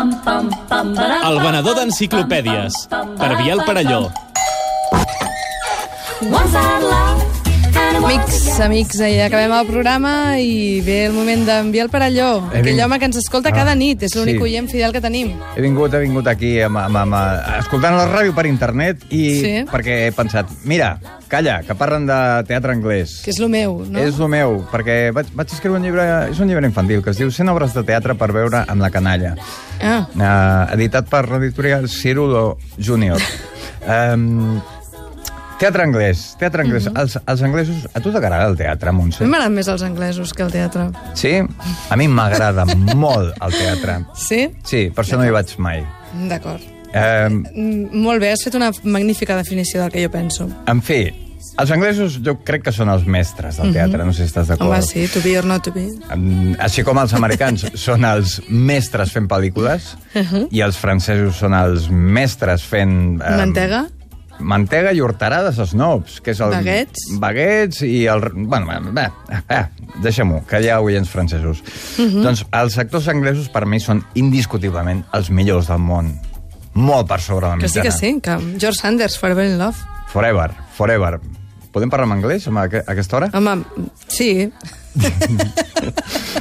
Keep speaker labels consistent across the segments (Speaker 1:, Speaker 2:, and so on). Speaker 1: El venedor d'enciclopèdies, per Biel Parelló.
Speaker 2: Amics, amics, ahir acabem el programa i ve el moment d'enviar el Parelló,
Speaker 3: Eh,
Speaker 2: aquell
Speaker 3: vinc.
Speaker 2: home que ens escolta cada nit, és l'únic
Speaker 3: sí.
Speaker 2: oient fidel que tenim.
Speaker 3: He vingut, he vingut aquí amb, amb, amb, escoltant la ràdio per internet i
Speaker 2: Sí.
Speaker 3: perquè he pensat, mira, calla, que parlen de teatre anglès.
Speaker 2: Que és lo meu, no?
Speaker 3: És el meu, perquè vaig, vaig escriure un llibre, és un llibre infantil, que es diu 100 obres de teatre per veure amb la canalla,
Speaker 2: Ah,
Speaker 3: uh, editat per l'editorial Cirulo Junior. Um, teatre anglès, teatre anglès.
Speaker 2: Mhm.
Speaker 3: Mm -hmm. els, els anglesos... A tu t'agrada el teatre,
Speaker 2: a
Speaker 3: Montse?
Speaker 2: mi m'agraden més els anglesos que el teatre.
Speaker 3: Sí? A mi m'agrada molt el teatre.
Speaker 2: Sí?
Speaker 3: Sí, per això no hi vaig mai.
Speaker 2: D'acord.
Speaker 3: Um,
Speaker 2: Mm, Molt bé, has fet una magnífica definició del que jo penso.
Speaker 3: En fi, els anglesos jo crec que són els mestres del teatre, mm -hmm. no sé si estàs d'acord.
Speaker 2: Mhm. Home, sí, to be or not to be.
Speaker 3: Mm, Així com els americans són els mestres fent pel·lícules
Speaker 2: Mhm.
Speaker 3: i els francesos són els mestres fent... eh,
Speaker 2: Mantega?
Speaker 3: Mantega i horterades snobs, que és el...
Speaker 2: Baguets?
Speaker 3: Baguets i el... Bueno, bé, bé, bé deixem-ho, que hi ha oients francesos.
Speaker 2: Mhm.
Speaker 3: Doncs els actors anglesos per mi són indiscutiblement els millors del món. Molt per sobre la
Speaker 2: Que sí
Speaker 3: mitjana.
Speaker 2: que sí, que George Sanders, Forever in Love.
Speaker 3: Forever, forever. Podem parlar en anglès a aqu- a aquesta hora?
Speaker 2: Home, sí,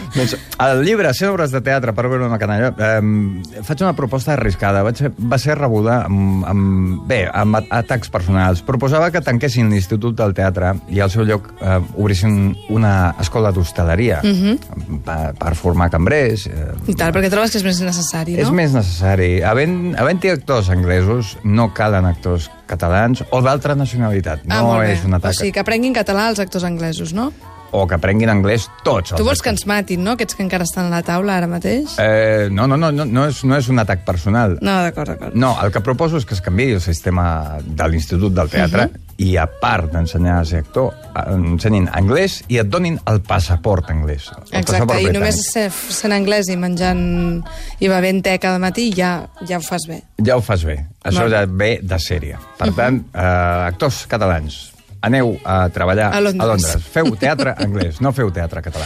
Speaker 3: Doncs el llibre 100 obres de teatre per veure una canalla eh, faig una proposta arriscada. Vaig, ser- va ser rebuda amb, amb, bé, amb at- atacs personals. Proposava que tanquessin l'Institut del Teatre i al seu lloc eh, obrissin una escola d'hostaleria
Speaker 2: Mhm.
Speaker 3: per, per formar cambrers. Eh,
Speaker 2: i tal, perquè trobes que és més necessari, no?
Speaker 3: és més necessari. Havent, havent actors anglesos, no calen actors catalans o d'altra nacionalitat.
Speaker 2: Ah,
Speaker 3: no
Speaker 2: molt bé.
Speaker 3: és Doncs un atac.
Speaker 2: O sigui, que aprenguin català els actors anglesos, no?
Speaker 3: o que aprenguin anglès tots. els
Speaker 2: Tu vols que
Speaker 3: actors.
Speaker 2: ens matin, no? Aquests que encara estan a la taula ara mateix?
Speaker 3: Eh, no, no, no, no, no, és, no és un atac personal.
Speaker 2: No, d'acord, d'acord.
Speaker 3: No, el que proposo és que es canviï el sistema de l'Institut del Teatre uh
Speaker 2: Mhm.
Speaker 3: -huh. i, a part d'ensenyar a ser actor, eh, ensenyin anglès i et donin el passaport anglès. El
Speaker 2: Exacte,
Speaker 3: passaport
Speaker 2: i només
Speaker 3: britànic.
Speaker 2: ser, sent anglès i menjant i bevent te cada matí ja, ja ho fas bé.
Speaker 3: Ja ho fas bé. Això
Speaker 2: Molt bé.
Speaker 3: ja ve de sèrie.
Speaker 2: Mhm.
Speaker 3: Per tant, eh, actors catalans, aneu a treballar
Speaker 2: A Londres.
Speaker 3: a Londres. Feu teatre anglès, no feu teatre català.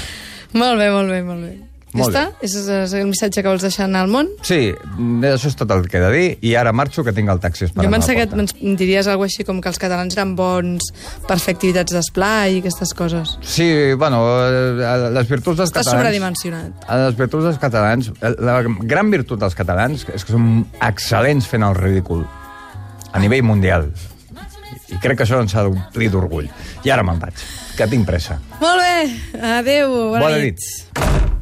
Speaker 2: Molt bé, molt bé, molt bé.
Speaker 3: Molt
Speaker 2: ja
Speaker 3: bé.
Speaker 2: està? És, és el missatge que vols deixar anar al món?
Speaker 3: Sí, mm, això és tot el que he de dir i ara marxo que tinc el taxi esperant
Speaker 2: Jo
Speaker 3: a la
Speaker 2: pensava que
Speaker 3: porta.
Speaker 2: ens diries alguna així com que els catalans eren bons per fer activitats d'esplai i aquestes coses.
Speaker 3: Sí, bueno, eh, les virtuts dels
Speaker 2: Està
Speaker 3: catalans...
Speaker 2: sobredimensionat.
Speaker 3: A les virtuts dels catalans, eh, la gran virtut dels catalans és que són excel·lents fent el ridícul a nivell mundial. I crec que això ens ha d'omplir d'orgull. I ara me'n vaig, que tinc pressa.
Speaker 2: Molt bé, adeu, bona,
Speaker 3: Bona nit.
Speaker 2: nit.